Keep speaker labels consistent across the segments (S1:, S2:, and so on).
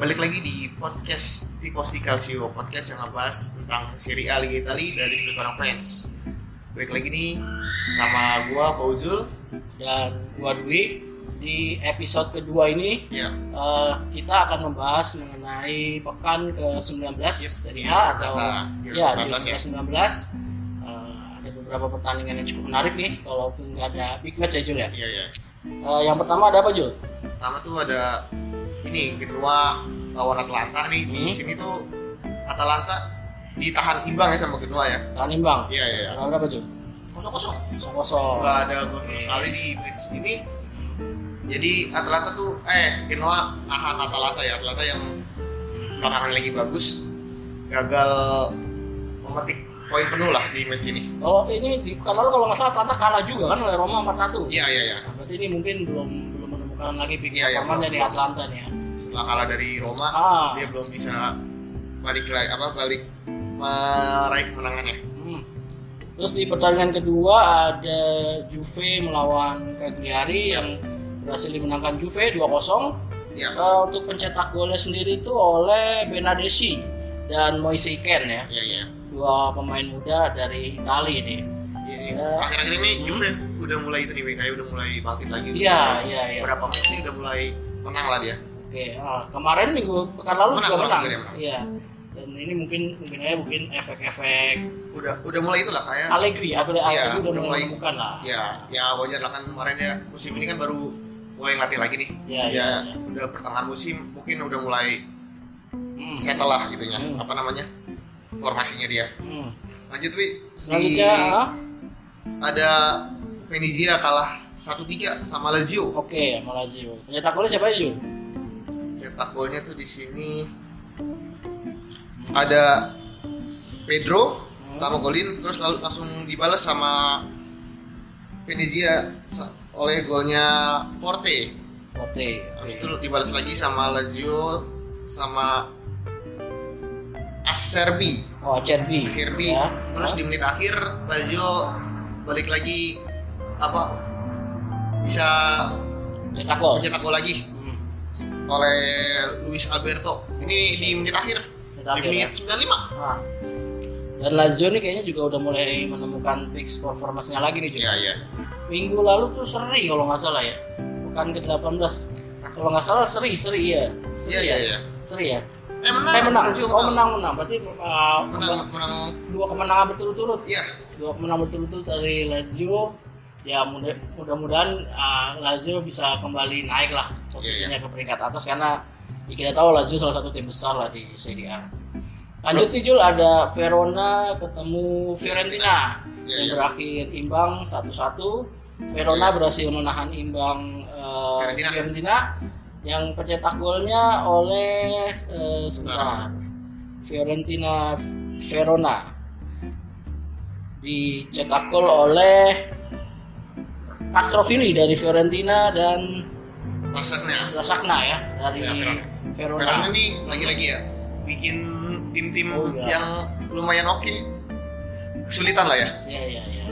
S1: balik lagi di podcast Tifosi Calcio podcast yang ngebahas tentang Serie A Liga Italia dari sudut orang fans balik lagi nih sama gua Fauzul
S2: dan gua Dwi di episode kedua ini
S1: ya
S2: eh, kita akan membahas mengenai pekan ke-19 Serie A atau ya di
S1: 2019 ya
S2: 2019 Eh, ada beberapa pertandingan yang cukup menarik nih walaupun nggak ada big match ya Jul ya.
S1: iya iya
S2: Eh, yang pertama ada apa Jul?
S1: pertama tuh ada ini Genoa lawan Atalanta nih di
S2: Hmm.
S1: sini tuh Atalanta ditahan imbang ya sama Genoa ya
S2: Tahan imbang.
S1: iya iya iya.
S2: Tahan berapa Jul?
S1: kosong kosong
S2: Kosong-kosong.
S1: nggak ada gol sama sekali di match ini jadi Atalanta tuh eh Genoa nahan Atalanta ya Atalanta yang belakangan lagi bagus gagal memetik poin penuh lah di match ini
S2: Kalau ini di pekan lalu kalau nggak salah Atlanta kalah juga kan oleh Roma 4-1.
S1: iya iya iya
S2: Nah, Berarti ini mungkin belum belum menemukan lagi
S1: Iya,
S2: big
S1: iya,
S2: performance
S1: belum.
S2: dari Atlanta nih ya.
S1: setelah kalah dari Roma
S2: Ah.
S1: dia belum bisa balik lagi apa balik meraih kemenangannya
S2: Hmm. Terus di pertandingan kedua ada Juve melawan Cagliari yang berhasil dimenangkan Juve 2-0.
S1: ya
S2: Eh, untuk pencetak golnya sendiri itu oleh Benadesi dan Moise Ken ya,
S1: iya iya
S2: dua pemain muda dari Italia ini.
S1: Ini
S2: Eh.
S1: Iya, akhir-akhir ini Juve udah mulai itu nih kayak udah mulai bangkit lagi udah
S2: Iya,
S1: mulai-
S2: iya, iya.
S1: berapa match ini udah mulai menang lah dia
S2: Oke, ah, kemarin minggu pekan lalu
S1: Menang,
S2: juga
S1: menang,
S2: menang.
S1: juga dia menang.
S2: Iya. Dan ini mungkin mungkin aja mungkin efek-efek
S1: udah udah mulai itulah kayak
S2: Allegri, Allegri
S1: Iya,
S2: udah
S1: udah
S2: mulai
S1: mulai.
S2: menemukan lah.
S1: ya ya wajar lah kan kemarin ya musim ini kan baru mulai ngelatih lagi nih
S2: Iya,
S1: ya
S2: iya, iya.
S1: udah pertengahan musim mungkin udah mulai
S2: Hmm.
S1: settle lah gitunya
S2: Hmm.
S1: apa namanya formasinya dia
S2: Hmm.
S1: lanjut wi
S2: Selanjutnya, ah,
S1: ada Venezia kalah 1-3 sama Lazio
S2: Oke, Malaysia. Pencetak golnya siapa aja, Jun?
S1: cetak golnya tuh di sini ada Pedro
S2: Hmm.
S1: pertama golin terus lalu langsung dibalas sama Venezia sa- oleh golnya Forte
S2: Oke.
S1: Habis itu dibalas lagi sama Lazio sama Acerbi.
S2: Oh, Cerbi.
S1: Acerbi.
S2: Ya.
S1: Terus di menit akhir Lazio balik lagi apa bisa
S2: Cetak gol.
S1: mencetak gol lagi
S2: Hmm.
S1: oleh Luis Alberto. Ini di menit akhir.
S2: Cetak
S1: Di
S2: gol, ya.
S1: menit 95.
S2: Ah. Dan Lazio ini kayaknya juga udah mulai menemukan fix performanya lagi nih, Jun.
S1: Iya, iya.
S2: Minggu lalu tuh seri kalau nggak salah ya. Bukan ke-18. Kalau nggak salah seri, seri ya. Seri
S1: Iya, iya,
S2: ya.
S1: iya.
S2: Seri ya.
S1: Eh menang.
S2: Eh menang.
S1: Lazio menang.
S2: Oh, menang, menang. Berarti uh,
S1: Menang, menang.
S2: dua kemenangan berturut-turut.
S1: Iya.
S2: dua pemenang berturut-turut dari Lazio ya mudah mudahan Lazio bisa kembali naik lah posisinya ke peringkat atas karena ya kita tahu Lazio salah satu tim besar lah di Serie A. Lanjut nih Jul ada Verona ketemu Fiorentina
S1: Iya,
S2: yang
S1: iya.
S2: berakhir imbang 1-1. Verona berhasil menahan imbang eh,
S1: Fiorentina.
S2: Fiorentina. yang pencetak golnya oleh eh, sebentar Fiorentina Verona dicetak gol oleh Castrovilli dari Fiorentina dan
S1: Maksudnya
S2: Lasagna ya dari
S1: Ya, Verona.
S2: Verona.
S1: Karena ini lagi-lagi ya bikin tim-tim
S2: Oh, iya.
S1: yang lumayan oke kesulitan lah ya.
S2: Ya ya ya.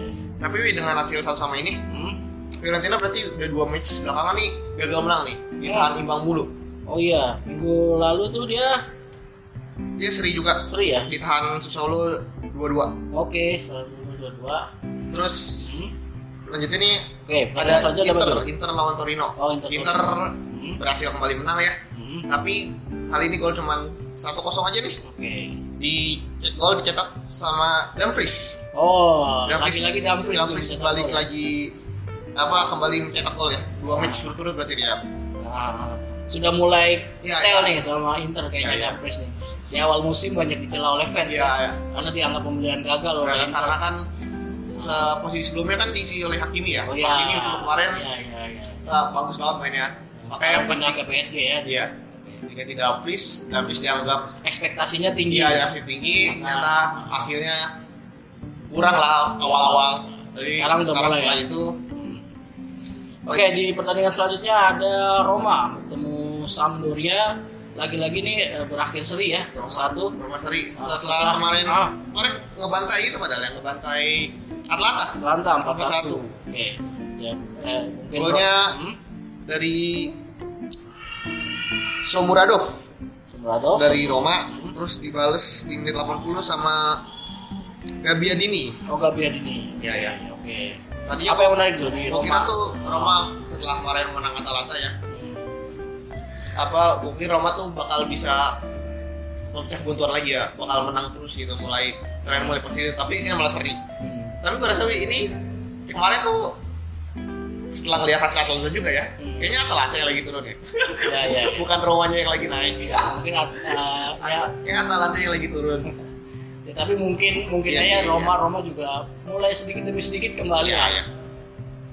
S1: Tapi Wi, dengan hasil satu sama ini,
S2: Hmm?
S1: Fiorentina berarti udah dua match belakangan nih gagal menang nih, ditahan imbang mulu.
S2: Oh iya, minggu lalu tuh dia
S1: Dia seri juga,
S2: seri ya.
S1: ditahan Sassuolo dua-dua.
S2: Oke, selalu dua-dua.
S1: Terus
S2: Hmm?
S1: lanjutnya nih
S2: Oke,
S1: ada
S2: pada saja dapat
S1: Inter,
S2: Jul.
S1: Inter lawan Torino.
S2: Oh, Inter.
S1: Inter
S2: Hmm?
S1: berhasil kembali menang ya,
S2: Hmm?
S1: tapi kali ini gol cuman 1-0 aja nih.
S2: Oke.
S1: Di gol dicetak sama Dumfries.
S2: Oh,
S1: Dumfries,
S2: lagi-lagi Dumfries. tuh
S1: Dumfries
S2: mencetak
S1: balik
S2: gol. ya.
S1: lagi apa kembali mencetak gol ya. Dua match berturut berarti dia.
S2: Nah, sudah mulai
S1: Iya,
S2: tel nih sama Inter kayaknya
S1: Iya, iya.
S2: Dumfries nih. Di awal musim banyak dicela oleh fans
S1: Iya,
S2: ya.
S1: ya.
S2: Karena dianggap pembelian gagal oleh
S1: Karena,
S2: Inter.
S1: karena kan se- posisi sebelumnya kan diisi oleh Hakimi ya.
S2: Oh iya.
S1: Hakimi musim kemarin
S2: Iya, iya, iya.
S1: ah, bagus banget mainnya. Makanya
S2: Sekarang
S1: pasti
S2: pindah ke PSG ya.
S1: iya. Diganti Dumfries, Dumfries dianggap
S2: Ekspektasinya tinggi. Iya.
S1: dia reaksi tinggi,
S2: Karena-
S1: ternyata hasilnya kurang lah awal-awal. Jadi
S2: Sekarang udah mulai ya.
S1: mulai itu
S2: Hmm. Oke, di pertandingan selanjutnya ada Roma ketemu Sampdoria. Lagi-lagi nih eh, berakhir seri ya, satu-satu.
S1: Roma seri
S2: setelah-
S1: setelah kemarin
S2: ah.
S1: kemarin ngebantai itu padahal yang ngebantai Atlanta
S2: Atlanta
S1: 4-1.
S2: 4-1. Oke. Ya, eh, mungkin
S1: Golnya-
S2: Hmm?
S1: dari Somuradov
S2: Muradov.
S1: dari Roma terus dibales di menit 80 sama Gabiadini
S2: Oh Gabriel ini.
S1: Iya, iya.
S2: Oke.
S1: tadinya
S2: Iya, Apa yang menarik dulu di
S1: gua
S2: Roma?
S1: kira tuh Roma setelah kemarin menang Atalanta ya
S2: Hmm.
S1: apa mungkin Roma tuh bakal bisa memecah buntuan lagi ya bakal menang terus gitu mulai tren mulai positif tapi sih malah seri
S2: Hmm.
S1: tapi gue rasa Wi, ini kemarin tuh setelah ngelihat hasil Atalanta juga ya
S2: Hmm.
S1: kayaknya Atalanta yang lagi turun ya
S2: Ya, ya. ya.
S1: bukan Romanya yang lagi naik
S2: Ya, mungkin uh, ya,
S1: ya Atalanta yang lagi turun
S2: ya, tapi mungkin mungkin
S1: Iya
S2: aja
S1: sih,
S2: Roma Roma juga mulai sedikit demi sedikit kembali
S1: Iya,
S2: lah.
S1: iya.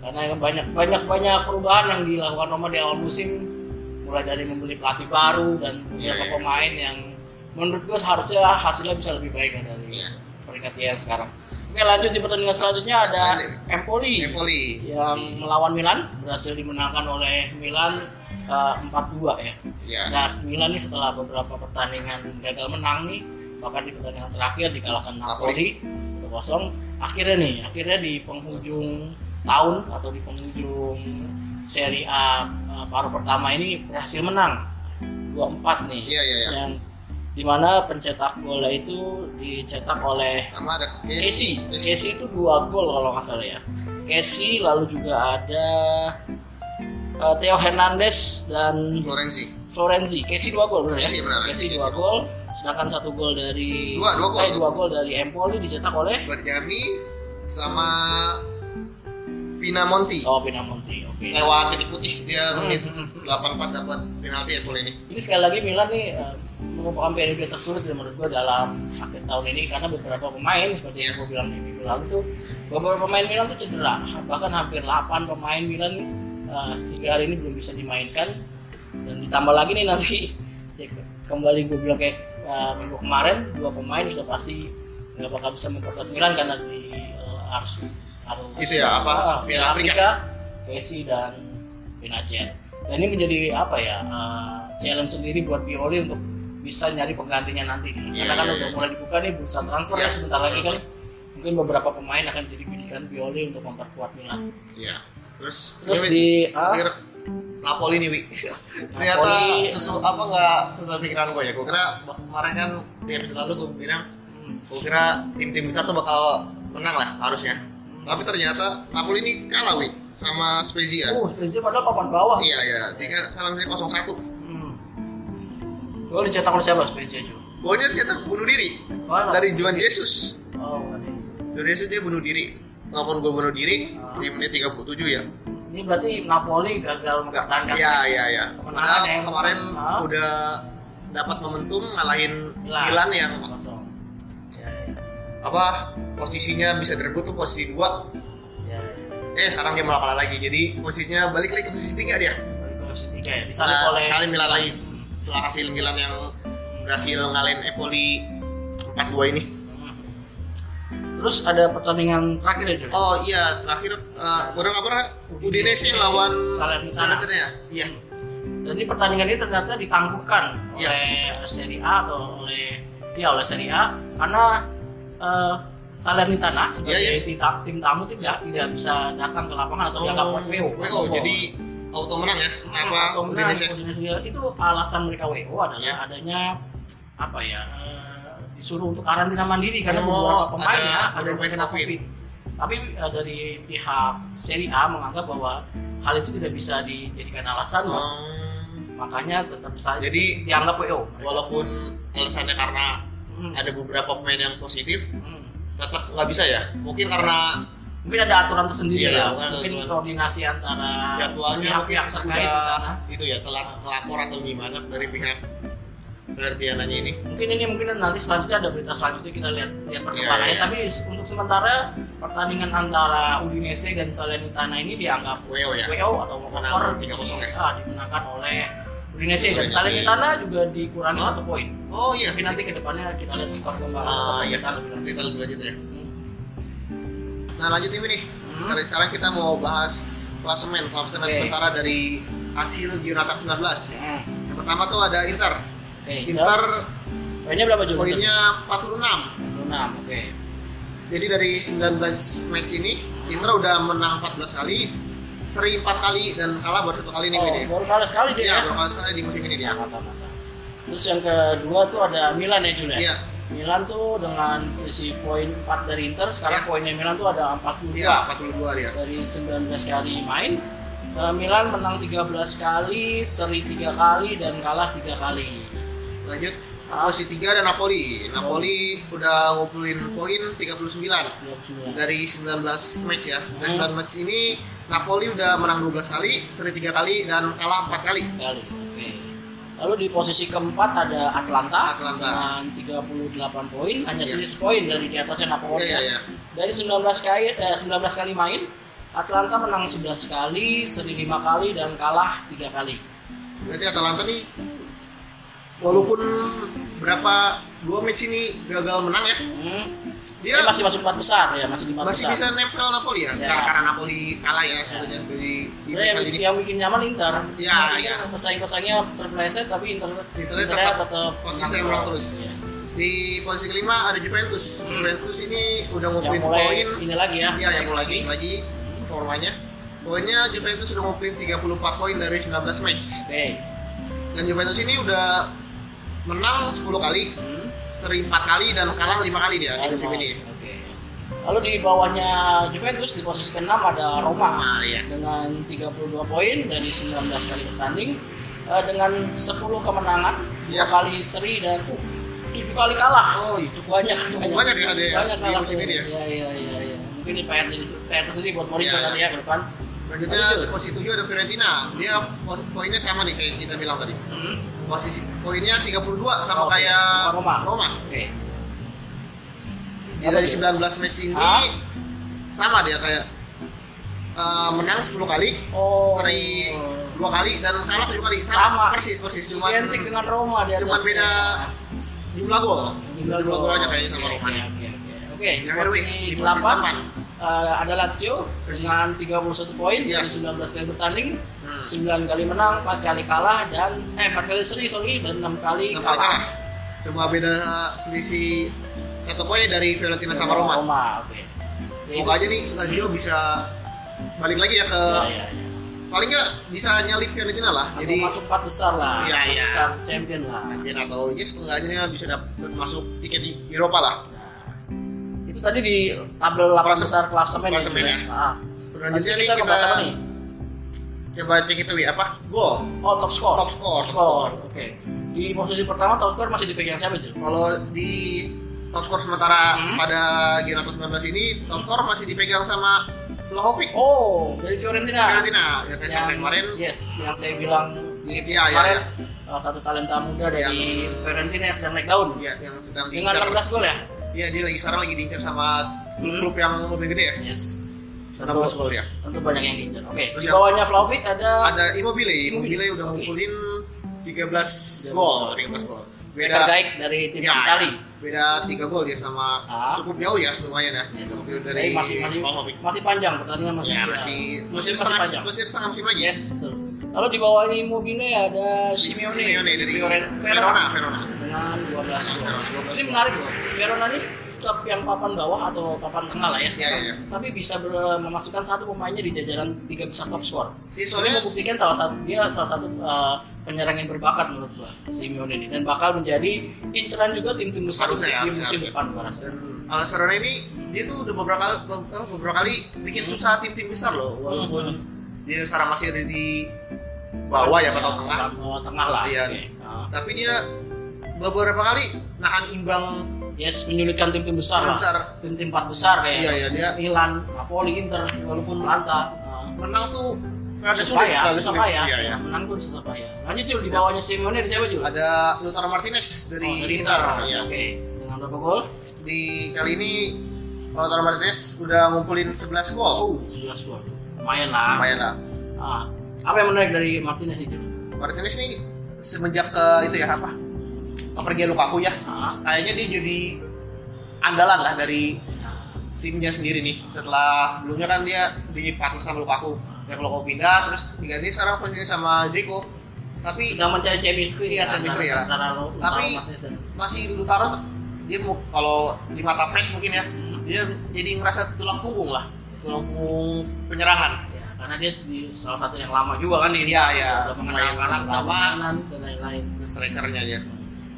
S2: karena yang banyak banyak banyak perubahan yang dilakukan Roma di awal musim mulai dari membeli pelatih baru dan
S1: Iya,
S2: beberapa
S1: iya.
S2: pemain yang menurut gue seharusnya hasilnya bisa lebih baik lah dari
S1: Iya.
S2: peringkat yang sekarang oke lanjut di pertandingan selanjutnya ada
S1: Lanjut.
S2: Empoli
S1: Empoli
S2: yang melawan Milan berhasil dimenangkan oleh Milan eh, 4-2 ya
S1: ya
S2: Nah, Milan nih setelah beberapa pertandingan gagal menang nih, bahkan di pertandingan terakhir dikalahkan Napoli 2-0. Akhirnya nih, akhirnya di penghujung tahun atau di penghujung Serie A eh, paruh pertama ini berhasil menang 2-4 nih.
S1: Iya, iya, iya.
S2: Yang dimana pencetak golnya itu dicetak oleh
S1: sama ada
S2: Casey.
S1: Casey Casey
S2: Casey itu dua gol kalau nggak salah ya. Casey lalu juga ada eh, Theo Hernandez dan
S1: Florenzi
S2: Florenzi, Casey dua gol benar ya?
S1: Casey, benar.
S2: Casey
S1: Casey
S2: dua
S1: dua.
S2: gol, sedangkan satu gol dari
S1: Dua, dua gol.
S2: eh, dua gol dari Empoli dicetak oleh
S1: buat kami sama Pinamonti
S2: Oh Pinamonti. Oke.
S1: lewat titik putih dia
S2: Hmm.
S1: menit 84 dapat penalti Empoli ini
S2: Ini sekali lagi Milan nih eh, merupakan periode tersulit ya menurut gua dalam akhir tahun ini karena beberapa pemain seperti yang gua bilang di minggu lalu tuh beberapa pemain Milan tuh cedera bahkan hampir 8 pemain Milan eh, tiga hari ini belum bisa dimainkan dan ditambah lagi nih nanti ya, ke- kembali gue bilang kayak eh, minggu kemarin dua pemain sudah pasti nggak bakal bisa memperkuat Milan karena di eh, harus harus
S1: Itu ya, apa?
S2: Ah,
S1: Piala
S2: Piala Afrika, Casey dan Benacer. Dan ini menjadi apa ya eh, challenge sendiri buat Pioli untuk bisa nyari penggantinya nanti nih.
S1: Iya,
S2: Karena kan
S1: iya,
S2: udah
S1: iya.
S2: mulai dibuka nih bursa transfer ya
S1: Iya.
S2: sebentar lagi kan. Mungkin beberapa pemain akan jadi pilihan Pioli untuk memperkuat Milan.
S1: ya terus
S2: Terus
S1: ini, Wi,
S2: di ah,
S1: akhir Napoli nih Wi ternyata
S2: Napoli-
S1: sesu apa nggak sesuai pikiran gue ya gue kira kemarin kan di episode lalu gue bilang
S2: hmm,
S1: gue kira tim-tim besar tuh bakal menang lah harusnya tapi ternyata Napoli ini kalah Wi sama Spezia
S2: uh, Spezia padahal papan bawah.
S1: iya iya dia kan kalah misalnya 0-1
S2: Hmm. Gol dicetak oleh siapa Spezia juga?
S1: golnya ternyata bunuh diri
S2: Mana?
S1: dari Juan Jesus
S2: Oh, bukan Spezia.
S1: Terus Yesus dia bunuh diri. Ngelakuin gue bunuh diri
S2: Ah.
S1: di menit 37 ya.
S2: ini berarti Napoli gagal
S1: Enggak.
S2: mempertahankan
S1: Iya, iya, iya.
S2: Kemenangan
S1: Padahal
S2: yang-
S1: kemarin
S2: Ah.
S1: udah dapat momentum ngalahin
S2: Milan.
S1: Milan yang
S2: kosong. Ya,
S1: apa posisinya bisa direbut tuh posisi 2
S2: ya, ya.
S1: eh sekarang dia malah kalah lagi jadi posisinya balik lagi ke posisi 3 dia
S2: Dari komisi tiga ya disalip
S1: Nah,
S2: oleh
S1: kali Milan lagi setelah hasil Milan yang berhasil ngalahin Empoli 4-2 ini
S2: Hmm. terus ada pertandingan terakhir ya Joy?
S1: oh iya terakhir eh, kurang apa Ra? Udinese lawan
S2: Salernitana.
S1: Salernitana ya iya
S2: dan ini pertandingan ini ternyata ditangguhkan
S1: Iya.
S2: oleh Serie A atau oleh ya oleh Serie A karena eh, Salernitana sebagai
S1: Iya, iya.
S2: tita- tim tamu tidak tidak bisa datang ke lapangan atau dianggap buat WO.
S1: WO, Oh, jadi auto menang ya apa
S2: apa
S1: Indonesia
S2: ya, itu alasan mereka WO adalah
S1: Ya.
S2: adanya apa ya eh, disuruh untuk karantina mandiri karena
S1: Oh,
S2: beberapa pemain
S1: ada
S2: ya ada yang
S1: pemain
S2: kena
S1: COVID.
S2: COVID. Tapi eh, dari pihak Serie A menganggap bahwa hal itu tidak bisa dijadikan alasan,
S1: Hmm,
S2: makanya tetap saja
S1: Jadi-
S2: dianggap WO.
S1: walaupun alasannya karena
S2: Hmm,
S1: ada beberapa pemain yang positif
S2: hmm.
S1: tetap nggak bisa ya mungkin karena
S2: Mungkin ada aturan tersendiri
S1: Iya,
S2: ya,
S1: bukan ada
S2: mungkin
S1: aturan.
S2: koordinasi antara
S1: jadwalnya mungkin
S2: pihak-pihak terkait di sana.
S1: sudah itu ya telat melapor atau gimana dari pihak Sertiananya ini
S2: mungkin ini mungkin nanti selanjutnya ada berita selanjutnya kita lihat lihat
S1: Iya,
S2: perkembangannya
S1: iya.
S2: tapi se- untuk sementara pertandingan antara Udinese dan Salernitana ini dianggap
S1: WO ya
S2: WO atau
S1: menang
S2: over
S1: 3-0 ya
S2: ah, dimenangkan oleh Udinese dan
S1: Udinese.
S2: Salernitana juga dikurangi satu poin
S1: oh iya
S2: tapi nanti kedepannya kita lihat perkembangan
S1: Ah, iya.
S2: Salernitana lebih lanjut.
S1: kita lebih lanjut ya
S2: Hmm.
S1: nah lanjut ini nih
S2: Hmm.
S1: sekarang kita mau bahas klasemen klasemen
S2: Oke.
S1: sementara dari hasil Gironata 19
S2: Hmm.
S1: yang pertama tuh ada Inter
S2: Oke,
S1: Inter
S2: poinnya berapa juga?
S1: poinnya 46.
S2: 26, oke.
S1: Jadi dari 19 match ini Inter udah menang 14 kali, seri 4 kali dan kalah baru satu kali nih
S2: Oh, Ya.
S1: ini.
S2: baru kalah sekali dia.
S1: Iya,
S2: ya.
S1: baru kalah sekali di musim ini dia.
S2: Mantap, mantap. Terus yang kedua tuh ada Milan ya Jul ya?
S1: Iya.
S2: Milan tuh dengan selisih poin 4 dari Inter,
S1: Iya.
S2: sekarang poinnya Milan tuh ada 42
S1: Iya, 42 dia.
S2: dari 19 kali main. eh, Milan menang 13 kali, seri 3 kali dan kalah 3 kali.
S1: Lanjut posisi 3 ada Napoli. Napoli udah ngumpulin poin 39
S2: 29.
S1: dari 19 match ya. Dari
S2: Hmm.
S1: 19 match ini Napoli udah menang 12 kali, seri 3 kali dan kalah 4 kali.
S2: kali. Oke. Lalu di posisi keempat ada Atlanta,
S1: Atlanta.
S2: dengan 38 poin, hanya
S1: Iya.
S2: selisih poin dari di atasnya Napoli.
S1: Iya, iya, iya.
S2: Dari 19 kali eh, 19 kali main, Atlanta menang 11 kali, seri 5 kali dan kalah 3 kali.
S1: Berarti Atalanta nih walaupun berapa dua match ini gagal menang ya,
S2: Hmm.
S1: dia
S2: Dia masih masuk empat besar ya, masih di
S1: Iya.
S2: empat
S1: masih
S2: besar.
S1: bisa nempel Napoli ya.
S2: Ya.
S1: Karena, karena Napoli kalah ya, ya. dari
S2: Iya. Sebenarnya
S1: bisa
S2: yang,
S1: jadi
S2: yang bikin nyaman Inter.
S1: Iya,
S2: Karena
S1: iya.
S2: Inter Pesaing-pesaingnya terpleset tapi Inter
S1: Internya tetap konsisten menang terus.
S2: Yes.
S1: di posisi kelima ada Juventus.
S2: Hmm.
S1: Juventus ini udah
S2: Yang
S1: ngumpulin
S2: mulai
S1: poin
S2: ini lagi ya.
S1: Iya, yang mulai lagi lagi formanya. Poinnya Juventus sudah ngumpulin 34 poin dari 19 match.
S2: Oke.
S1: Dan Juventus ini udah menang 10 kali,
S2: Hmm.
S1: seri 4 kali dan kalah 5 kali dia di
S2: Lalu
S1: musim
S2: mau-
S1: ini.
S2: Oke. Lalu di bawahnya Juventus di posisi keenam ada Roma
S1: Nah, iya.
S2: dengan 32 poin dari 19 kali bertanding eh, dengan 10 kemenangan, dua
S1: Iya.
S2: kali seri dan tujuh kali kalah.
S1: Oh, iya.
S2: Cukup banyak, cukup banyak.
S1: Banyak ya ada ya,
S2: Banyak
S1: di
S2: kalah
S1: musim
S2: seri.
S1: ini
S2: Iya,
S1: ya.
S2: iya, iya, iya. Mungkin di PR jadi PR tersendiri buat Mourinho
S1: Iya.
S2: nanti ya ke depan.
S1: Selanjutnya di posisi 7 ada Fiorentina. Dia pos- poinnya sama nih kayak kita bilang tadi.
S2: Hmm.
S1: Posisi poinnya 32 sama
S2: Oh,
S1: kayak
S2: sama Roma. Iya,
S1: Roma.
S2: Oke.
S1: Dia
S2: Apa
S1: dari
S2: dia?
S1: 19 match ini
S2: Hah?
S1: sama dia kayak eh, menang 10 kali,
S2: Oh.
S1: seri dua kali dan kalah tujuh kali
S2: Sama.
S1: persis persis cuman
S2: Identik dengan Roma Iya. di
S1: cuman
S2: atasnya.
S1: beda jumlah gol
S2: Jumlah Iya,
S1: Jumlah
S2: gol.
S1: gol aja kayaknya sama
S2: Oke,
S1: Roma.
S2: Oke, oke. Oke, di
S1: Yang
S2: posisi
S1: Erwin, di posisi
S2: 8
S1: delapan.
S2: eh, ada Lazio dengan 31 poin
S1: Iya.
S2: dari 19 kali bertanding,
S1: Hmm.
S2: 9 kali menang, 4 kali kalah dan eh 4 kali seri sorry dan 6 kali
S1: Enam kali kalah
S2: kalah.
S1: cuma beda selisih satu poin dari Fiorentina sama Roma
S2: Roma, oke.
S1: semoga aja nih Lazio bisa balik lagi ya ke
S2: Ya, ya, ya.
S1: paling nggak bisa nyalip Fiorentina lah
S2: Atau
S1: jadi
S2: masuk 4 besar lah.
S1: Iya,
S2: empat
S1: iya.
S2: Besar champion lah.
S1: champion atau ya setengahnya bisa dapat masuk tiket di Eropa lah
S2: Nah, itu tadi di tabel 8
S1: Klasem-
S2: besar klasemen ya,
S1: klasemen
S2: Jule.
S1: ya.
S2: Ah.
S1: selanjutnya
S2: Nanti
S1: nih
S2: kita,
S1: kita
S2: ngebahas apa nih?
S1: coba cek itu ya apa gol
S2: Oh, top score.
S1: top score top
S2: Skor, Oke. Di posisi pertama top skor masih dipegang siapa, Jul?
S1: kalau di top skor sementara
S2: Hmm.
S1: pada Giro 19 ini top skor masih dipegang sama Vlahovic
S2: Oh, iya. dari Fiorentina.
S1: Fiorentina ya kayak sampai kemarin
S2: Yes, yang saya bilang di episode
S1: Iya, iya,
S2: kemarin salah satu talenta muda dari
S1: Yang-
S2: Fiorentina yang sedang naik daun.
S1: ya yang sedang
S2: Dengan
S1: diincar
S2: 16 gol ya?
S1: ya dia lagi sekarang lagi diincar sama klub-klub yang lebih gede ya
S2: Yes.
S1: Sedang
S2: Tentu,
S1: gol ya
S2: tentu banyak yang diincar. Oke,
S1: Terus
S2: di
S1: yang-
S2: bawahnya Vlahovic ada,
S1: Iya. ada Immobile Immobile udah
S2: Oke.
S1: ngumpulin 13 gol 13 gol
S2: striker gaik dari tim
S1: ya,
S2: Itali.
S1: beda 3 gol ya sama
S2: Ah.
S1: cukup jauh ya lumayan ya
S2: Yes.
S1: Immobile
S2: Tapi masih masih
S1: Vlahovic.
S2: masih panjang pertandingan masih.
S1: ya
S2: ya.
S1: masih
S2: masih,
S1: masih
S2: masih
S1: setengah
S2: panjang.
S1: masih setengah musim lagi
S2: Yes, betul. Lalu di bawahnya Immobile ada Simeone,
S1: Simeone dari
S2: Fioren-
S1: Verona Verona
S2: dengan 12 gol.
S1: Verona, 12
S2: Ini
S1: gol.
S2: menarik loh. Verona ini setiap yang papan bawah atau papan tengah lah ya sekarang.
S1: Iya, iya.
S2: Tapi bisa ber- memasukkan satu pemainnya di jajaran tiga besar top skor.
S1: Iya,
S2: Ini
S1: soalnya
S2: membuktikan salah satu dia salah satu uh, penyerang yang berbakat menurut gua Simeone ini dan bakal menjadi inceran juga tim-tim besar
S1: Harusnya ya,
S2: di
S1: harusnya,
S2: musim
S1: harusnya.
S2: depan gua rasa.
S1: Alas Verona ini dia tuh udah beberapa kali be- apa, beberapa kali bikin susah tim-tim besar loh
S2: Hmm, Mhm.
S1: walaupun dia sekarang masih ada di bawah ya atau tengah
S2: papan Bawah tengah lah.
S1: Iya.
S2: Oke. Nah,
S1: tapi dia beberapa kali nahan imbang
S2: yes, menyulitkan tim-tim besar lah.
S1: besar
S2: Tim-tim empat besar kayak
S1: iya ya dia
S2: Milan, Napoli, Inter, walaupun Lanta. Nah,
S1: menang tuh rada
S2: susah
S1: sulit
S2: ya,
S1: rada
S2: susah
S1: sulit.
S2: payah.
S1: iya ya
S2: Menang pun susah payah. Lanjut Jul, di bawahnya Simeone ada siapa Jul?
S1: ada Lautaro Martinez
S2: oh,
S1: dari,
S2: dari Inter.
S1: Inter iya.
S2: Oke. Dengan berapa gol?
S1: di kali ini Lautaro Martinez udah ngumpulin 11 gol
S2: Oh, 11 gol. Lumayan lah.
S1: lumayan lah
S2: Ah, apa yang menarik dari Martinez itu?
S1: Martinez ini semenjak ke itu ya apa kepergian Lukaku ya
S2: Ah.
S1: kayaknya dia jadi andalan lah dari timnya sendiri nih setelah sebelumnya kan dia dipakai sama Lukaku ya Lukaku pindah terus diganti sekarang posisinya sama Zico tapi
S2: Sedang mencari chemistry.
S1: Iya,
S2: ya,
S1: chemistry ya.
S2: antara- Antara lo,
S1: Tapi-
S2: antara Martinez dan
S1: masih Lutaro tuh, dia mau kalau di mata fans mungkin ya
S2: Hmm.
S1: dia jadi ngerasa tulang punggung lah tulang punggung penyerangan
S2: ya, karena dia di salah satu yang lama juga kan ini.
S1: Iya, iya.
S2: Udah mengenal
S1: Lumayan
S2: karakter,
S1: lama.
S2: permainan dan lain-lain.
S1: strikernya dia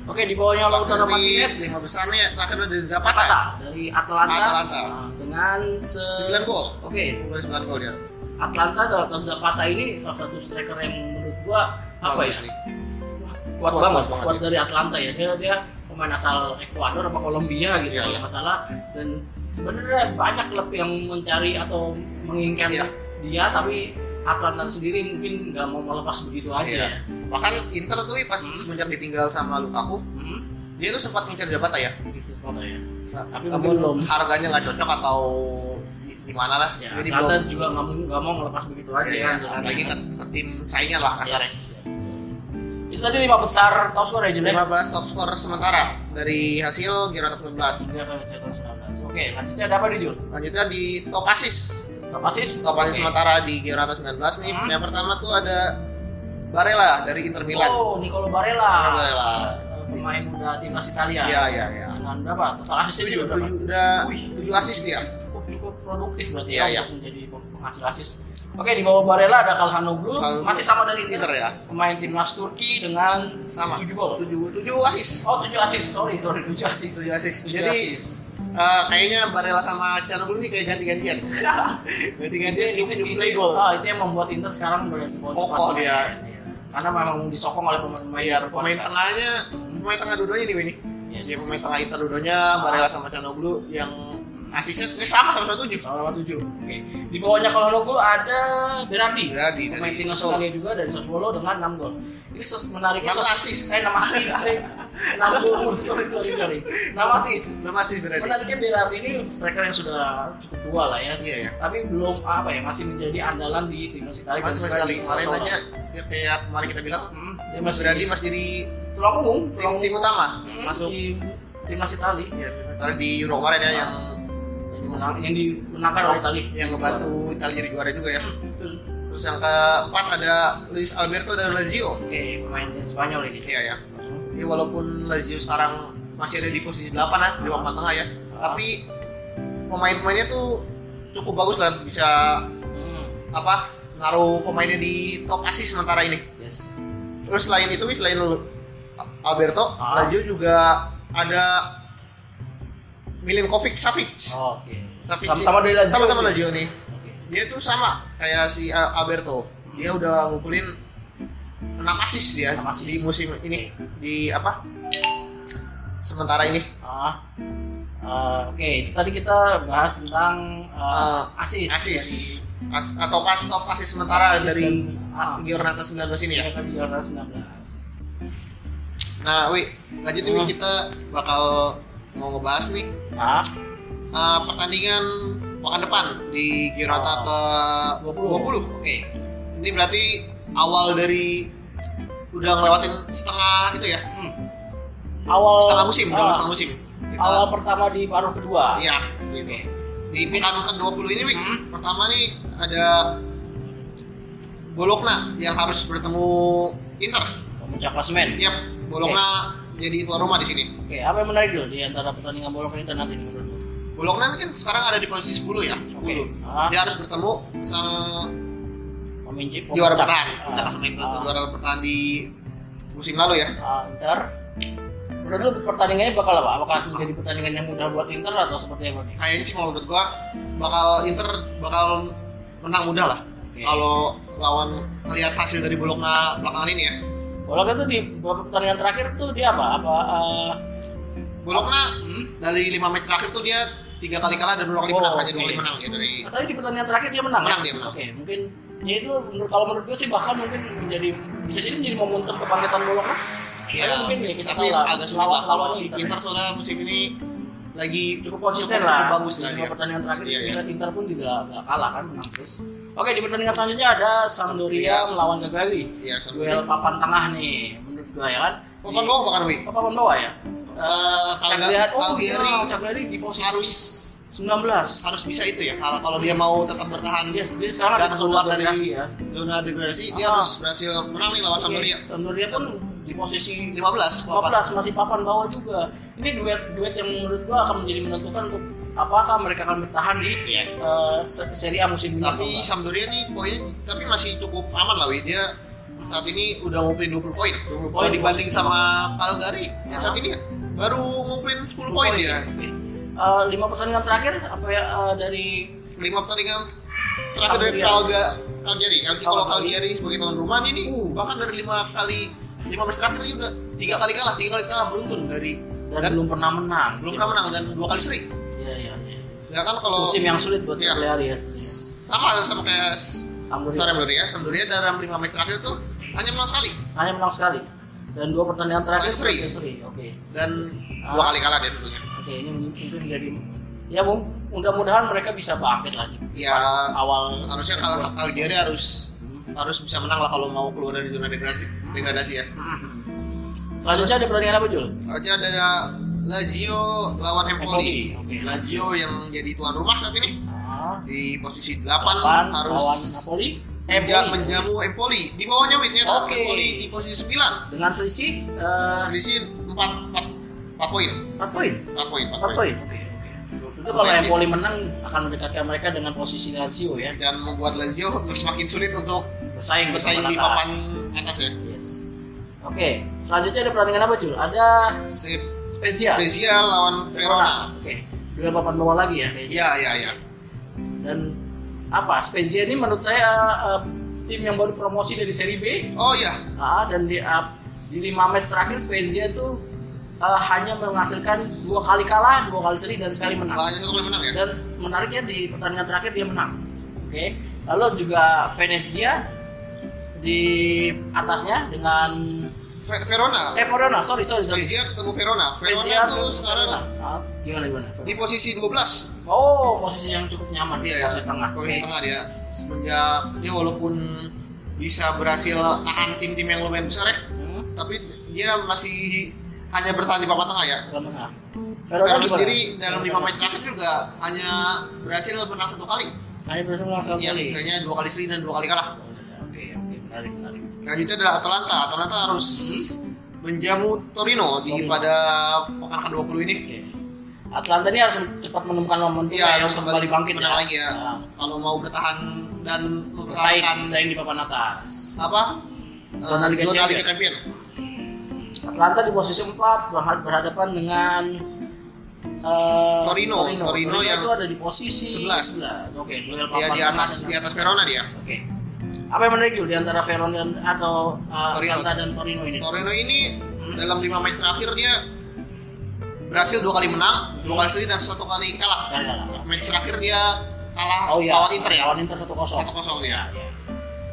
S2: Oke di bawahnya Lautaro
S1: Di
S2: Martinez
S1: lima besarnya terakhir ada Zapata.
S2: Zapata dari Atlanta,
S1: Atlanta.
S2: Nah, dengan se...
S1: Sembilan gol.
S2: Oke
S1: Mulai sembilan gol ya.
S2: Atlanta dengan Zapata ini salah satu striker yang menurut gua apa
S1: Bagus
S2: ya
S1: nih.
S2: kuat,
S1: Kuat
S2: banget,
S1: banget
S2: kuat
S1: ya.
S2: dari Atlanta ya. Dia dia pemain asal Ekuador sama Kolombia gitu
S1: Iya,
S2: kalau
S1: iya.
S2: nggak salah. Dan sebenarnya banyak klub yang mencari atau menginginkan
S1: Iya.
S2: dia, tapi Atlanta sendiri mungkin nggak mau melepas begitu aja.
S1: Iya.
S2: ya.
S1: Bahkan Inter tuh Wi, pas
S2: Hmm.
S1: semenjak ditinggal sama Lukaku,
S2: Hmm,
S1: dia tuh sempat mencari Zapata ya.
S2: gitu kota ya.
S1: Nah,
S2: Tapi mungkin belum.
S1: harganya nggak cocok atau di- gimana lah.
S2: Ya,
S1: Jadi
S2: Atlanta
S1: belum-
S2: juga nggak mau nggak mau melepas begitu aja
S1: Iya,
S2: kan.
S1: iya.
S2: Atlanta
S1: Lagi
S2: kan.
S1: ke, ke tim saingnya lah kasarnya.
S2: Yes. Itu tadi lima besar top score ya Jun, ya?
S1: 15 top skor sementara dari hasil Giro top 19.
S2: Tiga kali cetak 19. Oke, lanjutnya ada apa nih Jul?
S1: Lanjutnya di top assist.
S2: Top assist?
S1: Top assist
S2: Oke.
S1: sementara di Giro top 19 nih.
S2: Hmm.
S1: Yang pertama tuh ada Barella dari Inter Milan.
S2: Oh, Nicolo Barella.
S1: Barella.
S2: Eh, Pemain muda timnas Italia.
S1: Iya, iya, iya.
S2: Dengan berapa? Total asisnya Ya. juga berapa?
S1: Tujuh udah tujuh assist dia.
S2: Cukup cukup produktif berarti
S1: Iya,
S2: ya,
S1: iya.
S2: untuk menjadi penghasil asis. Oke, di bawah Barella ada Kalhanoglu,
S1: Kalhanoglu.
S2: masih sama dari Inter.
S1: Inter ya.
S2: Pemain timnas Turki dengan
S1: Sama.
S2: 7 gol.
S1: Tujuh tujuh assist.
S2: Oh, 7 asis. Sorry, sorry, 7 asis.
S1: Tujuh assist.
S2: 7
S1: Jadi
S2: asis.
S1: eh, kayaknya Barella sama Canoglu ini kayak ganti-gantian. ganti-gantian itu
S2: itu,
S1: play goal.
S2: ah, itu yang membuat Inter sekarang berada di bawah
S1: Kokoh
S2: pasokan.
S1: dia.
S2: Iya. Karena memang disokong oleh pemain-pemain
S1: Iya,
S2: yang
S1: pemain
S2: berkualitas.
S1: tengahnya, pemain tengah dudonya nih ini.
S2: Yes.
S1: Dia pemain tengah Inter dudonya Barella sama Canoglu yang asisnya ini sama sama satu tujuh.
S2: Sama-sama 7. Oke. Di bawahnya Kalhanoglu ada Berardi.
S1: Berarti
S2: pemain timnas Italia juga dari Sassuolo dengan 6 gol. Ini sus- menariknya
S1: Enam
S2: sus-
S1: asis.
S2: Eh 6 asis. eh. 6 gol. sorry sorry sorry. 6 asis.
S1: Nama sih berarti.
S2: Menariknya Berardi ini striker yang sudah cukup tua lah ya.
S1: Iya ya.
S2: Tapi belum apa ya masih menjadi andalan di timnas Italia.
S1: Cuma cuma
S2: dan juga
S1: sekali
S2: di
S1: kemarin
S2: Sassuolo.
S1: aja ya kayak kemarin kita bilang
S2: Hmm, dia masih
S1: berarti masih jadi
S2: tulang punggung,
S1: tim,
S2: tulang
S1: tim utama
S2: Hmm,
S1: masuk
S2: di timnas Italia.
S1: ya karena di Euro kemarin
S2: Nah.
S1: ya yang
S2: Yang dimenang- yang dimenangkan oleh Italia.
S1: yang ngebantu Italia jadi juara juga ya.
S2: Betul.
S1: Terus yang keempat ada Luis Alberto dari Lazio.
S2: Oke, pemain dari Spanyol ini.
S1: Iya ya. Ini walaupun Lazio sekarang masih ada di posisi 8 lah, di papan tengah ya. Tapi pemain-pemainnya tuh cukup bagus lah bisa
S2: Hmm,
S1: apa naruh pemainnya di top assist sementara ini.
S2: Yes.
S1: Terus selain itu, selain Alberto,
S2: Ah.
S1: Lazio juga ada Milinkovic Savic.
S2: Oh, Oke.
S1: Savic
S2: Sama-sama dari Lazio.
S1: Sama-sama
S2: dia.
S1: Lazio nih.
S2: Oke.
S1: Dia tuh sama kayak si uh, Alberto. Dia udah ngumpulin 6 assist dia
S2: Enam assist.
S1: di musim ini di apa? Sementara ini
S2: Ah. Eh, Oke, itu tadi kita bahas tentang eh,
S1: Ah,
S2: asis.
S1: assist As- atau pas top assist sementara
S2: Assist
S1: dari
S2: dan- ah.
S1: Giornata 19 ini ya.
S2: Dari di Jordan 19.
S1: Nah, wi, lanjut nih Wi,
S2: Hmm.
S1: kita bakal mau ngebahas nih
S2: Ah,
S1: Uh, pertandingan pekan depan di
S2: Oh.
S1: Girota ke
S2: 20.
S1: 20.
S2: Oke.
S1: Ini berarti awal dari udah ngelewatin setengah itu ya,
S2: Hmm. Awal
S1: setengah musim, udah
S2: ah,
S1: setengah musim. Kita,
S2: awal pertama di paruh kedua.
S1: iya,
S2: Oke.
S1: gitu. Di pekan ke-20 ini, Wi,
S2: Hmm.
S1: pertama nih ada Bologna yang harus bertemu Inter.
S2: Pemuncak klasemen.
S1: Yap, Bologna jadi tuan rumah di sini.
S2: Oke, apa yang menarik dulu di antara pertandingan bola dan Inter nanti nih menurut lu?
S1: Bologna kan sekarang ada di posisi 10 ya, 10.
S2: Oke. Ah,
S1: Dia harus bertemu sang
S2: pemimpin
S1: juara
S2: pemuncak.
S1: bertahan
S2: Ah,
S1: kita kasih main
S2: ah,
S1: juara bertahan di musim lalu ya
S2: ah, Inter. Menurut lu pertandingannya bakal apa? Apakah menjadi pertandingan yang mudah buat Inter atau seperti apa nih?
S1: kayaknya sih kalau menurut gua bakal Inter bakal menang mudah lah
S2: Oke.
S1: kalau lawan melihat hasil dari Bologna belakangan ini ya
S2: Walaupun itu di beberapa pertandingan terakhir tuh dia apa? Apa eh,
S1: Bologna
S2: hmm?
S1: dari lima match terakhir tuh dia tiga kali kalah dan dua kali
S2: Oh,
S1: menang hanya dua
S2: oke.
S1: kali menang ya dari
S2: Tapi di pertandingan terakhir dia menang.
S1: Menang,
S2: ya?
S1: dia menang.
S2: Oke, mungkin ya itu menurut kalau menurut gue sih bahkan mungkin menjadi bisa jadi menjadi momentum kebangkitan Bologna. Ya,
S1: Ya,
S2: mungkin ya kita
S1: tapi
S2: tahu lah.
S1: agak sulit lah kalau
S2: lawannya
S1: Inter,
S2: Inter, ya.
S1: soalnya musim ini lagi
S2: cukup konsisten
S1: cukup-
S2: lah.
S1: cukup bagus lah
S2: Di
S1: dia
S2: pertandingan terakhir
S1: Iya, iya.
S2: Inter, Inter pun juga nggak kalah kan menang terus. Oke, di pertandingan selanjutnya ada Sampdoria melawan Cagliari.
S1: Iya, Sampdoria.
S2: Duel papan tengah nih menurut gue ya kan.
S1: papan bawah bahkan wi
S2: Apa papan bawah ya?
S1: Se-
S2: Cagliari, oh
S1: Cagliari
S2: iya, Cagliari di posisi
S1: harus
S2: 19.
S1: harus bisa itu ya kalau kalau dia mau tetap bertahan
S2: Yes, jadi sekarang
S1: dan
S2: Iya, ada
S1: keluar dari
S2: konsolidasi ya.
S1: zona degradasi dia
S2: Ah. Iya.
S1: harus berhasil menang nih lawan
S2: Oke,
S1: Sampdoria
S2: Sampdoria pun di posisi
S1: 15 papan.
S2: 15 masih papan bawah juga. Ini duet-duet yang menurut gua akan menjadi menentukan untuk apakah mereka akan bertahan di
S1: Iya.
S2: eh, se- Serie A musim ini.
S1: tapi
S2: atau enggak.
S1: Sampdoria nih poinnya tapi masih cukup aman lah Wi dia saat ini udah ngumpulin 20 poin. Kalau
S2: 20 poin
S1: dibanding
S2: posisi
S1: sama Calgary, ya
S2: Ah.
S1: saat ini baru ngumpulin 10 poin ya.
S2: Oke. Eh, lima pertandingan terakhir apa ya eh, dari
S1: 5 pertandingan terakhir dari
S2: Calgary.
S1: Calga, Calgary. Calgary kalau
S2: Calgary.
S1: Calgary sebagai tuan rumah ini
S2: Uh.
S1: bahkan dari 5 kali 5 match terakhir ini udah 3 kali kalah, 3 kali kalah beruntun dari
S2: dan, belum pernah menang.
S1: belum pernah menang dan 2 kali seri.
S2: Iya iya. iya.
S1: Ya kan kalau
S2: Musim yang sulit buat
S1: Iya.
S2: Cagliari ya.
S1: sama sama kayak
S2: Sampdoria
S1: Sampdoria, Sampdoria dalam 5 match terakhir itu hanya menang sekali
S2: hanya menang sekali dan dua pertandingan terakhir
S1: Paling seri.
S2: sebagai seri. Oke.
S1: dan
S2: Ah.
S1: dua kali kalah dia tentunya.
S2: Oke, ini mungkin menjadi ya mu- mudah-mudahan mereka bisa bangkit lagi.
S1: Ya
S2: Awal
S1: harusnya kalau Algeria harus harus bisa menang lah kalau mau keluar dari zona
S2: Hmm.
S1: degradasi, degradasi ya.
S2: Selanjutnya ada pertandingan apa Jul?
S1: Aja ada Lazio lawan Empoli.
S2: Empoli, oke.
S1: Lazio yang jadi tuan rumah saat ini
S2: Ah,
S1: di posisi 8,
S2: lawan
S1: harus
S2: lawan Napoli.
S1: menja-
S2: Empoli.
S1: menjamu Empoli. Di bawahnya Witnya
S2: Oke.
S1: Empoli di posisi 9.
S2: Dengan selisih eh,
S1: Selisih 4 4 4 poin.
S2: empat poin.
S1: 4 poin, 4
S2: Empat
S1: poin.
S2: poin. Oke. oke. Itu kalau Empoli menang akan mendekatkan mereka dengan posisi Lazio ya.
S1: Dan membuat Lazio semakin sulit untuk
S2: Bersaing
S1: bersaing di
S2: papan
S1: papan atas ya.
S2: Yes. Oke, selanjutnya ada pertandingan apa Jul? Ada
S1: Sip.
S2: Spezia.
S1: Spezia lawan Verona.
S2: Oke. Dua papan bawah lagi ya kayaknya.
S1: Ya, ya, ya.
S2: Dan apa? Spezia ini menurut saya eh, tim yang baru promosi dari Serie B.
S1: Oh ya,
S2: Ah, dan di eh, di lima match terakhir Spezia itu eh, hanya menghasilkan dua kali kalah, dua kali seri dan sekali menang.
S1: hanya satu kali menang ya.
S2: Dan menariknya di pertandingan terakhir dia menang. Oke. Lalu juga Venezia di atasnya dengan
S1: Ve- Verona.
S2: eh Verona, sorry sorry sorry.
S1: Spezia ketemu Verona.
S2: Spezia
S1: Verona tuh
S2: versus Verona.
S1: sekarang
S2: Ah, gimana gimana?
S1: di posisi 12
S2: Oh, posisi yang cukup nyaman
S1: Iya,
S2: posisi tengah.
S1: posisi
S2: Oke.
S1: tengah dia semenjak dia walaupun bisa berhasil tahan tim-tim yang lumayan besar ya
S2: Hmm,
S1: tapi dia masih hanya bertahan di papan tengah ya
S2: dalam tengah.
S1: Verona
S2: gimana?
S1: sendiri dalam 5
S2: Verona.
S1: match terakhir juga hanya berhasil menang satu kali
S2: Hanya berhasil menang sekali.
S1: ya misalnya dua kali seri dan dua kali kalah
S2: Oke, oke, menarik, menarik.
S1: Selanjutnya adalah Atalanta. Atalanta harus menjamu Torino di
S2: Torino.
S1: pada pekan ke-20 ini.
S2: Oke. Atlanta ini harus cepat menemukan momentum
S1: Iya,
S2: harus kembali bangkit
S1: menang lagi ya.
S2: Nah,
S1: Kalau mau bertahan dan
S2: bersaing,
S1: mempertahankan
S2: bersaing di papan atas.
S1: apa?
S2: Zona
S1: eh,
S2: Liga
S1: zona
S2: Champion.
S1: Liga Champion.
S2: Atlanta di posisi 4 berhadapan dengan eh,
S1: Torino.
S2: Torino,
S1: Torino yang
S2: itu ada di posisi
S1: 11.
S2: 11. Oke, duel
S1: Dia
S2: papan
S1: di
S2: tengah
S1: atas iya. di
S2: dengan-
S1: atas Verona dia.
S2: Oke. Apa yang menarik Jul, di antara Verona dan atau eh,
S1: Torino.
S2: Atlanta dan Torino ini?
S1: Torino ini
S2: Hmm.
S1: dalam 5 match terakhir dia berhasil dua kali menang, dua kali seri dan satu kali kalah.
S2: Sekali kalah.
S1: Match terakhir dia kalah
S2: Oh iya.
S1: lawan Inter ya.
S2: Lawan Inter 1-0.
S1: 1-0 dia.
S2: Ya.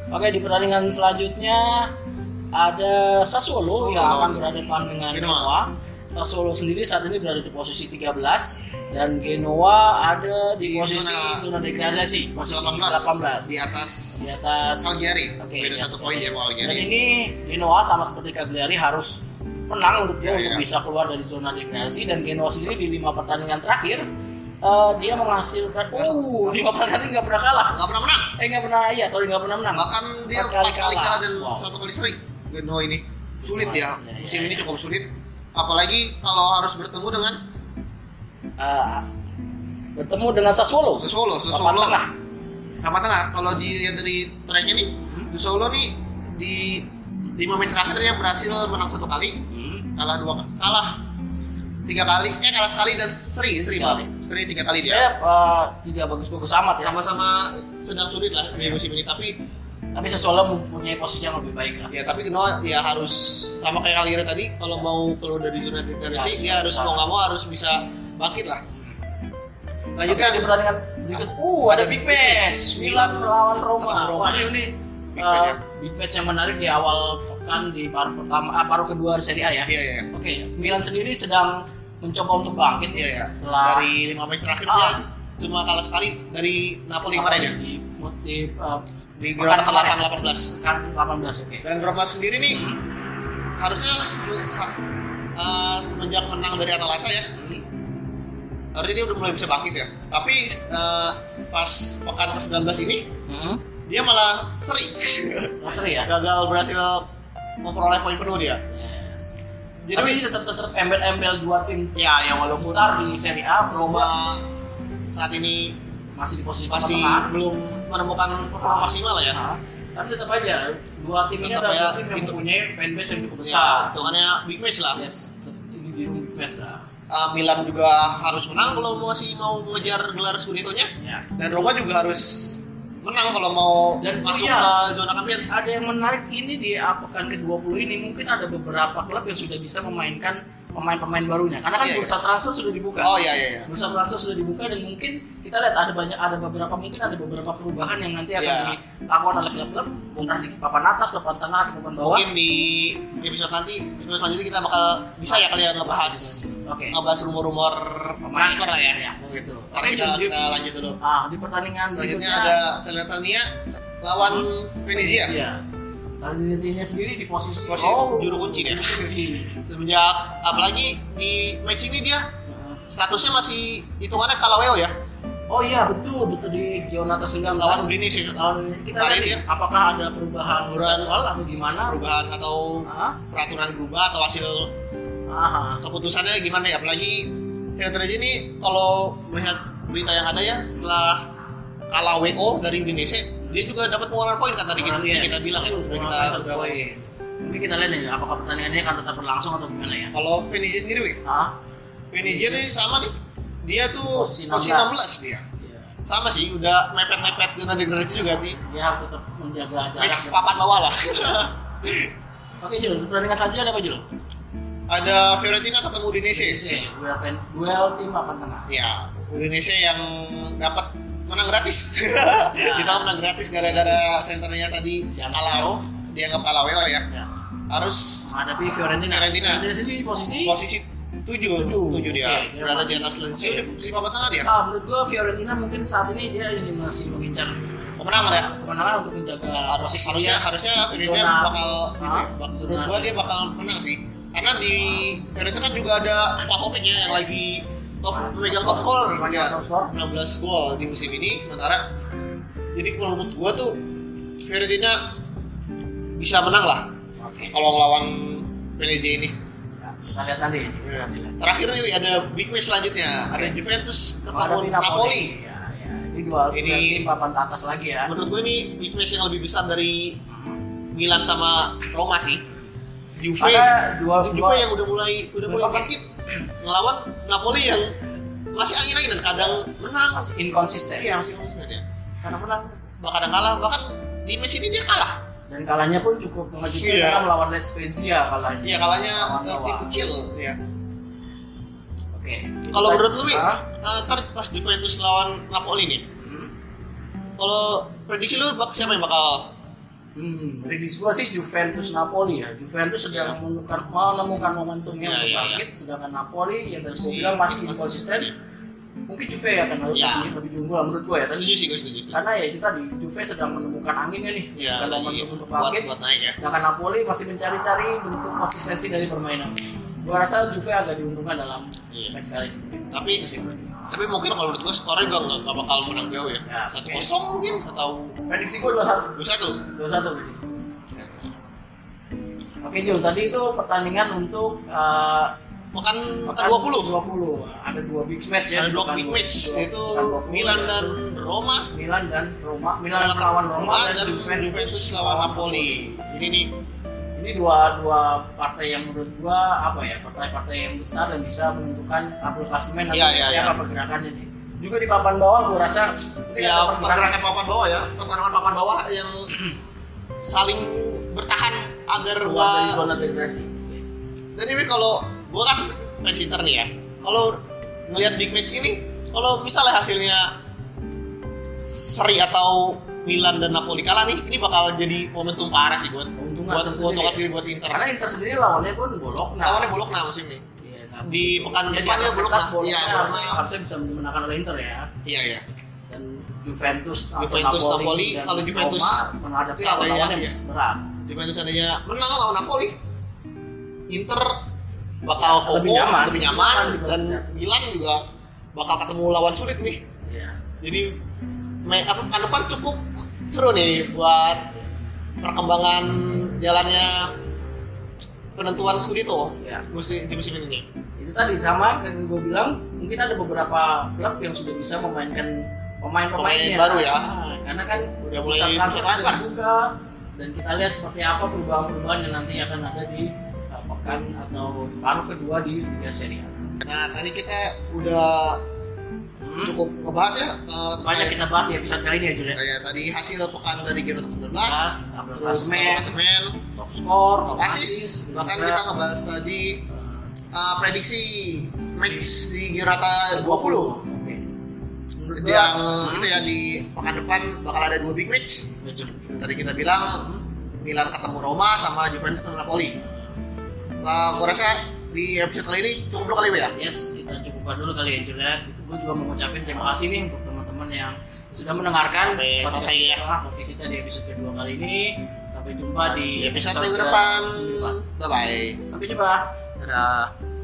S2: Oke di pertandingan selanjutnya ada
S1: Sassuolo
S2: Sassuolo yang akan
S1: lawan
S2: berhadapan dengan
S1: Genoa.
S2: Genoa. Sassuolo sendiri saat ini berada di posisi 13 dan Genoa ada
S1: Di
S2: di posisi
S1: zona-
S2: zona, degradasi posisi
S1: 18
S2: 18
S1: di atas
S2: di atas
S1: Cagliari.
S2: Oke, iya,
S1: Beda
S2: di
S1: satu
S2: atas
S1: poin ya dia sama
S2: dan
S1: Cagliari.
S2: ini Genoa sama seperti Cagliari harus menang menurutku
S1: Iya,
S2: untuk
S1: iya.
S2: bisa keluar dari zona degradasi dan Genoa sendiri di lima pertandingan terakhir eh, dia menghasilkan uh lima pertandingan nggak pernah kalah
S1: nggak pernah menang
S2: eh nggak pernah iya sorry nggak pernah menang
S1: bahkan dia empat
S2: Empat
S1: kali
S2: kali
S1: kalah,
S2: kalah.
S1: dan
S2: Wow.
S1: satu kali seri Genoa ini sulit
S2: Wah,
S1: ya
S2: iya, iya,
S1: musim ini
S2: iya.
S1: cukup sulit apalagi kalau harus bertemu dengan
S2: Eh, bertemu dengan Sassuolo
S1: Sassuolo
S2: papan
S1: Sassuolo
S2: tengah
S1: sama tengah kalau dilihat dari tracknya nih
S2: Hmm?
S1: Sassuolo nih di lima match terakhir dia berhasil menang satu kali kalah dua kalah tiga kali eh kalah sekali dan seri seri
S2: Tiga kali.
S1: maaf. seri tiga kali dia
S2: saya eh, tidak bagus-bagus amat ya
S1: sama-sama sedang sulit lah di musim ini tapi
S2: tapi Sassuolo mempunyai posisi yang lebih baik lah
S1: Ya tapi Genoa ya harus sama kayak Cagliari tadi kalau mau keluar dari zona degradasi
S2: Ya,
S1: dia harus
S2: bisa.
S1: mau nggak mau harus bisa bangkit lah.
S2: Hmm. lanjutkan di
S1: Lanjutkan
S2: pertandingan berikut uh ada big match Milan melawan Roma
S1: Lawan Roma.
S2: wah ini ini,
S1: Big
S2: eh,
S1: match ya.
S2: big match yang menarik di awal pekan di paruh pertama ah, paruh kedua Serie A ya
S1: Iya iya.
S2: oke Milan sendiri sedang mencoba untuk bangkit
S1: Iya ya.
S2: setelah
S1: Dari lima match terakhir
S2: Ah.
S1: dia cuma kalah sekali dari Napoli kemarin ya
S2: di, di, eh,
S1: di
S2: Pekan
S1: gelombang
S2: kemarin.
S1: ke-8 18.
S2: pekan 18 oke Hmm.
S1: Dan Roma sendiri nih harusnya se- sa- eh, semenjak menang dari Atalanta ya
S2: Hmm.
S1: harusnya dia udah mulai bisa bangkit ya. Tapi eh, pas pekan ke-19 ini
S2: Hmm.
S1: dia malah seri.
S2: Oh, seru ya?
S1: gagal berhasil memperoleh poin penuh dia.
S2: Yes.
S1: Jadi
S2: Tapi tetap tetap embel-embel dua tim
S1: ya ya walaupun
S2: besar di Serie A
S1: Roma
S2: Roma
S1: saat ini
S2: masih di posisi
S1: masih
S2: papan tengah.
S1: belum menemukan performa
S2: Ah.
S1: maksimal ya.
S2: Nah, tapi tetap aja dua tim ini
S1: Tetap
S2: adalah
S1: ya,
S2: dua tim yang
S1: itu-
S2: mempunyai fanbase yang cukup besar
S1: Ya, hitungannya big match lah
S2: yes tet- ini di room best lah
S1: Eh, Milan juga harus menang kalau mau masih mau ngejar gelar Scudetto-nya
S2: ya
S1: dan Roma juga harus menang kalau mau
S2: Dan
S1: masuk
S2: iya.
S1: ke zona kampion
S2: ada yang menarik ini di pekan ke-20 ini mungkin ada beberapa klub yang sudah bisa memainkan pemain-pemain barunya karena kan
S1: Iya, iya.
S2: bursa transfer sudah dibuka
S1: oh iya iya iya
S2: bursa transfer sudah dibuka dan mungkin kita lihat ada banyak ada beberapa mungkin ada beberapa perubahan yang nanti akan
S1: Iya.
S2: dilakukan oleh klub-klub entah di papan atas, papan tengah atau papan bawah
S1: mungkin di episode nanti episode selanjutnya kita bakal bisa ya kalian ngebahas
S2: oke
S1: ngebahas rumor-rumor
S2: Pemain.
S1: transfer lah ya
S2: Iya.
S1: gitu
S2: Tapi
S1: tapi kita,
S2: di-
S1: kita lanjut dulu
S2: ah di pertandingan
S1: selanjutnya ada Selenitania lawan Hmm. Venezia
S2: Iya. Tarzinitinya sendiri di posisi, Oh,
S1: Posisi juru kunci dia.
S2: juru kunci.
S1: semenjak apalagi di match ini dia
S2: Heeh.
S1: statusnya masih hitungannya kalaweo ya
S2: Oh iya betul betul di zona atas 19
S1: lawan Udinese ya.
S2: Lawan Indonesia. kita
S1: Kemarin
S2: lihat nih,
S1: ya.
S2: apakah ada perubahan
S1: Perubahan.
S2: jadwal atau gimana?
S1: perubahan atau
S2: Hah?
S1: peraturan berubah atau hasil
S2: Aha.
S1: keputusannya gimana ya apalagi ternyata aja ini kalau melihat berita yang ada ya setelah kalah WO dari Indonesia dia juga dapat pengeluaran poin kan tadi kita,
S2: Orang, yes.
S1: kita bilang ya
S2: Betul,
S1: Udah
S2: orang Kaiser
S1: kita,
S2: Boy. Mungkin kita lihat nih apakah pertandingan ini akan tetap berlangsung atau gimana ya?
S1: kalau Venezia sendiri Wik.
S2: Hah?
S1: Venezia ini sama nih dia tuh
S2: Posisi
S1: posisi
S2: 16.
S1: 16, dia
S2: Iya.
S1: sama sih udah mepet-mepet zona degradasi juga nih
S2: Dia harus tetap menjaga jarak.
S1: match papan bawah lah
S2: Oke Jul, pertandingan selanjutnya ada apa Jul?
S1: ada Fiorentina ketemu Udinese
S2: Indonesia, duel, pen- duel tim papan tengah.
S1: ya Indonesia yang dapat menang gratis kita menang gratis gara-gara senternya tadi
S2: Yang
S1: kalau dianggap kalah WO ya
S2: Ya.
S1: harus
S2: Menghadapi Fiorentina.
S1: Fiorentina.
S2: sendiri di posisi
S1: posisi tujuh tujuh dia
S2: Oke, dia
S1: berada di
S2: masih-
S1: atas Lazio
S2: oke.
S1: di posisi papan tengah dia
S2: Ah, menurut gua Fiorentina mungkin saat ini dia ini masih mengincar
S1: pemenang ya
S2: kemenangan untuk menjaga
S1: harus
S2: posisi
S1: harusnya
S2: dia.
S1: harusnya Fiorentina
S2: Iya. zona-
S1: bakal
S2: Ah,
S1: gitu ya.
S2: zona-
S1: menurut gua dia bakal menang sih karena di Fiorentina kan juga ada Pavlovicnya yang lagi top memegang top scorer
S2: Memegang
S1: dia
S2: top scorer.
S1: 16 gol di musim ini sementara jadi kalau menurut gua tuh Fiorentina bisa menang lah
S2: Oke.
S1: kalau ngelawan Venezia ini
S2: Nah, kita lihat nanti ya,
S1: Iya.
S2: hasilnya.
S1: terakhir nih Wi, ada big match selanjutnya ada Juventus ketemu
S2: Menghadapi
S1: Napoli.
S2: Ya, ya. Ini duel
S1: Ini-
S2: duel tim papan atas lagi ya.
S1: menurut gue ini big match yang lebih besar dari
S2: Hmm.
S1: Milan sama Roma sih Juve ya?
S2: Karena duel
S1: Juve
S2: duel-
S1: yang udah mulai udah mulai
S2: Berapa?
S1: bangkit ngelawan Napoli yang masih angin-angin dan kadang menang
S2: masih inkonsisten
S1: iya masih konsisten ya kadang menang bahkan kadang kalah bahkan di match ini dia kalah
S2: dan kalahnya pun cukup mengejutkan
S1: Iya.
S2: karena melawan Les Spezia kalahnya.
S1: iya kalahnya
S2: Lawan
S1: dari tim
S2: lawan.
S1: kecil ya
S2: Oke. Itu
S1: kalau
S2: kan-
S1: menurut lu Wi,
S2: Hah?
S1: eh, ntar pas Juventus lawan Napoli nih
S2: Hmm.
S1: kalau prediksi lu bak siapa yang bakal
S2: Hmm, prediksi gua sih Juventus Napoli ya.
S1: Iya.
S2: Juventus sedang menemukan menemukan
S1: Ya,
S2: momentumnya untuk
S1: ya,
S2: bangkit, sedangkan Napoli yang dari gua
S1: Si-
S2: bilang masih inkonsisten. Mungkin Juve ya kan lebih
S1: Ya.
S2: lebih diunggul menurut gua ya. Tapi
S1: setuju sih gue setuju sih.
S2: karena ya kita di Juve sedang menemukan anginnya nih
S1: ya
S2: dan
S1: lagi
S2: momentum untuk
S1: buat
S2: bangkit.
S1: buat naik ya
S2: Sedangkan Napoli masih mencari-cari bentuk konsistensi dari permainan. Gua rasa Juve agak diuntungkan dalam
S1: Iya.
S2: match kali ini.
S1: tapi
S2: Itu sih.
S1: tapi mungkin kalau menurut gue skornya juga nggak nggak bakal menang jauh ya
S2: Ya,
S1: satu
S2: oke.
S1: kosong mungkin atau
S2: Prediksi gua 2-1.
S1: dua satu
S2: 2-1 prediksi. Oke Jul, tadi itu pertandingan untuk eh,
S1: pekan
S2: Pekan
S1: dua puluh
S2: 20. Ada dua big match ya.
S1: ada dua
S2: Pekan
S1: big
S2: 20.
S1: match yaitu
S2: Pekan 20,
S1: Milan
S2: ya.
S1: dan Roma
S2: Milan dan Roma. Milan lawan Roma dan Juventus,
S1: Juventus lawan Napoli ini nih
S2: Ini dua dua partai yang menurut gua apa ya? Partai-partai yang besar dan bisa menentukan tabel klasemen
S1: Iya,
S2: nanti
S1: iya,
S2: apa
S1: iya.
S2: pergerakannya nih. Juga di papan bawah gua rasa ini
S1: ya
S2: ada
S1: pergerakan papan bawah ya pertarungan papan bawah yang saling bertahan agar
S2: keluar dari
S1: gua
S2: zona degradasi.
S1: dan ini kalau gua kan match Inter nih ya kalau ngelihat big match ini kalau misalnya hasilnya seri atau Milan dan Napoli kalah nih ini bakal jadi momentum parah sih buat
S2: Keuntungan
S1: buat
S2: tersendiri.
S1: keuntungan diri buat Inter
S2: Karena Inter sendiri lawannya pun Bologna.
S1: lawannya Bologna musim ini
S2: Iya, nah,
S1: di pekan
S2: jadi
S1: depannya
S2: Nah. atas
S1: Bologna
S2: kertas Nah. Bologna
S1: iya
S2: harusnya,
S1: Bologna
S2: harusnya bisa memenangkan oleh Inter ya.
S1: iya iya
S2: dan Juventus, atau
S1: Juventus, Napoli,
S2: dan
S1: kalau Juventus
S2: Roma menghadapi
S1: seandainya,
S2: lawan-lawan yang
S1: iya.
S2: berat.
S1: gimana seandainya menang lawan Napoli Inter bakal kokoh
S2: Iya, Lebih nyaman.
S1: lebih nyaman
S2: Lebih
S1: dan
S2: nyaman. ya.
S1: Milan juga bakal ketemu lawan sulit nih
S2: Iya.
S1: jadi me, apa pekan depan cukup seru nih buat perkembangan jalannya penentuan Scudetto
S2: Ya.
S1: musim di musim ini
S2: Itu tadi sama yang gue bilang, mungkin ada beberapa klub yang sudah bisa memainkan pemain-pemainnya
S1: Pemain baru ya.
S2: Ah, karena kan
S1: Udah mulai
S2: bursa
S1: bursa
S2: transfer
S1: transfer.
S2: sudah dibuka dan kita lihat seperti apa perubahan-perubahan yang nantinya akan ada di uh, pekan atau paruh kedua di Liga Serie A.
S1: Nah, tadi kita udah
S2: Hmm,
S1: cukup ngebahas ya eh,
S2: banyak
S1: terkait-
S2: kita bahas di episode kali ini ya Julian.
S1: kayak tadi hasil pekan dari Giro 19
S2: Bahas tabel
S1: terus
S2: klasemen,
S1: klasemen,
S2: top score, top
S1: asis,
S2: assist,
S1: bahkan
S2: juga,
S1: kita ngebahas tadi eh, prediksi match di Girata 20
S2: Oke. Menurut
S1: Jadi
S2: gua,
S1: yang
S2: hmm,
S1: itu ya di pekan depan bakal ada dua big match.
S2: ya, Jul.
S1: Tadi kita bilang Milan ketemu Roma sama Juventus dan Napoli. Nah, gua rasa di episode kali ini cukup dulu kali Bu, ya.
S2: Yes, kita cukupkan dulu kali ya Julian. Gitu, gue juga mau ngucapin terima kasih nih untuk teman-teman yang sudah mendengarkan
S1: Sampai
S2: podcast
S1: selesai ya.
S2: kita, podcast kita di episode kedua kali ini. Sampai jumpa di
S1: Di episode minggu
S2: ke-
S1: depan.
S2: minggu depan.
S1: Bye bye.
S2: Sampai jumpa.
S1: Dadah.